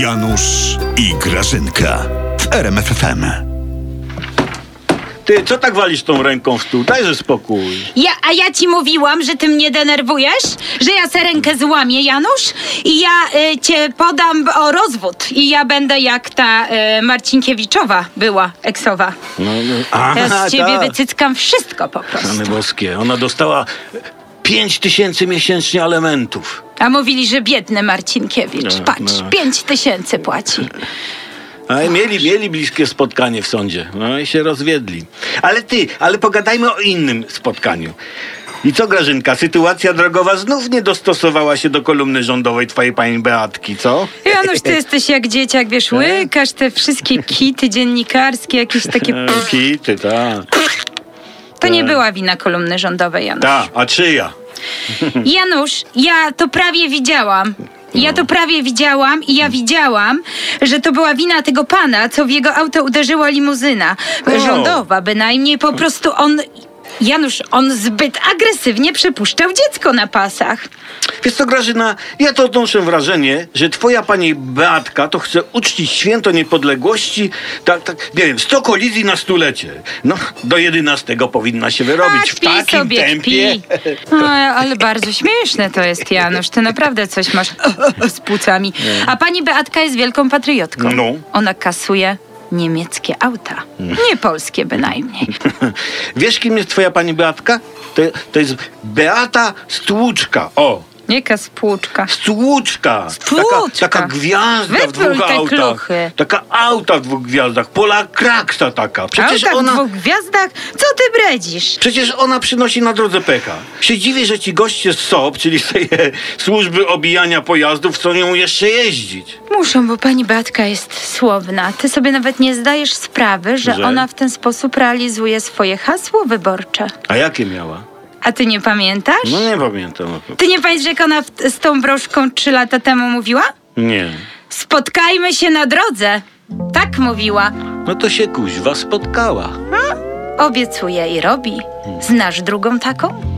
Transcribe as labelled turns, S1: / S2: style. S1: Janusz i Grażynka w RMFFM.
S2: Ty, co tak walisz tą ręką w stół? Dajże spokój.
S3: Ja, a ja ci mówiłam, że ty mnie denerwujesz? Że ja se rękę złamię, Janusz? I ja y, cię podam o rozwód. I ja będę jak ta y, Marcinkiewiczowa była, eksowa.
S2: tak.
S3: Ja z ciebie wycyckam wszystko po prostu.
S2: Rany boskie, ona dostała 5 tysięcy miesięcznie alimentów.
S3: A mówili, że biedny Marcinkiewicz.
S2: No,
S3: Patrz,
S2: no.
S3: pięć tysięcy płaci.
S2: A mieli, mieli bliskie spotkanie w sądzie. No i się rozwiedli. Ale ty, ale pogadajmy o innym spotkaniu. I co, Grażynka, sytuacja drogowa znów nie dostosowała się do kolumny rządowej twojej pani Beatki, co?
S3: Janusz, ty jesteś jak dzieciak, wiesz,
S2: Tak.
S3: łykasz te wszystkie kity dziennikarskie, jakieś takie...
S2: E, Kity, ta.
S3: To
S2: Tak.
S3: nie była wina kolumny rządowej, Janusz.
S2: Ta, a czyja?
S3: Janusz, ja to prawie widziałam. Ja to prawie widziałam i ja widziałam, że to była wina tego pana, co w jego auto uderzyła limuzyna.
S2: O.
S3: Rządowa bynajmniej, po prostu on... Janusz, on zbyt agresywnie przypuszczał dziecko na pasach.
S2: Wiesz co, Grażyna, ja to odnoszę wrażenie, że twoja pani Beatka to chce uczcić święto niepodległości, tak, tak, nie wiem, 100 kolizji na stulecie. No, do 11 powinna się wyrobić
S3: A,
S2: w takim tempie.
S3: A, No, ale bardzo śmieszne to jest, Janusz. Ty naprawdę coś masz z płucami. A pani Beatka jest wielką patriotką.
S2: No.
S3: Ona kasuje niemieckie auta. Nie polskie bynajmniej.
S2: Wiesz, kim jest twoja pani Beatka? To, to jest Beata Stłuczka. O,
S3: Jaka spłuczka.
S2: Stłuczka.
S3: Stłuczka.
S2: Taka, taka gwiazda w
S3: Wytwórz
S2: dwóch
S3: te
S2: autach.
S3: kluchy.
S2: Taka auta w dwóch gwiazdach. Pola kraksa taka. Przecież
S3: Auta w
S2: ona...
S3: dwóch gwiazdach? Co ty bredzisz?
S2: Przecież ona przynosi na drodze pecha. Się dziwię, że ci goście z SOP, czyli z tej e, służby obijania pojazdów, chcą ją jeszcze jeździć.
S3: Muszą, bo pani Beatka jest słowna. Ty sobie nawet nie zdajesz sprawy, że,
S2: Że?
S3: ona w ten sposób realizuje swoje hasło wyborcze.
S2: A jakie miała?
S3: A ty nie pamiętasz?
S2: No nie pamiętam.
S3: Ty nie pamiętasz, jak ona w, z tą broszką trzy lata temu mówiła?
S2: Nie.
S3: Spotkajmy się na drodze. Tak mówiła.
S2: No to się kuźwa spotkała.
S3: Obiecuje i robi. Znasz drugą taką?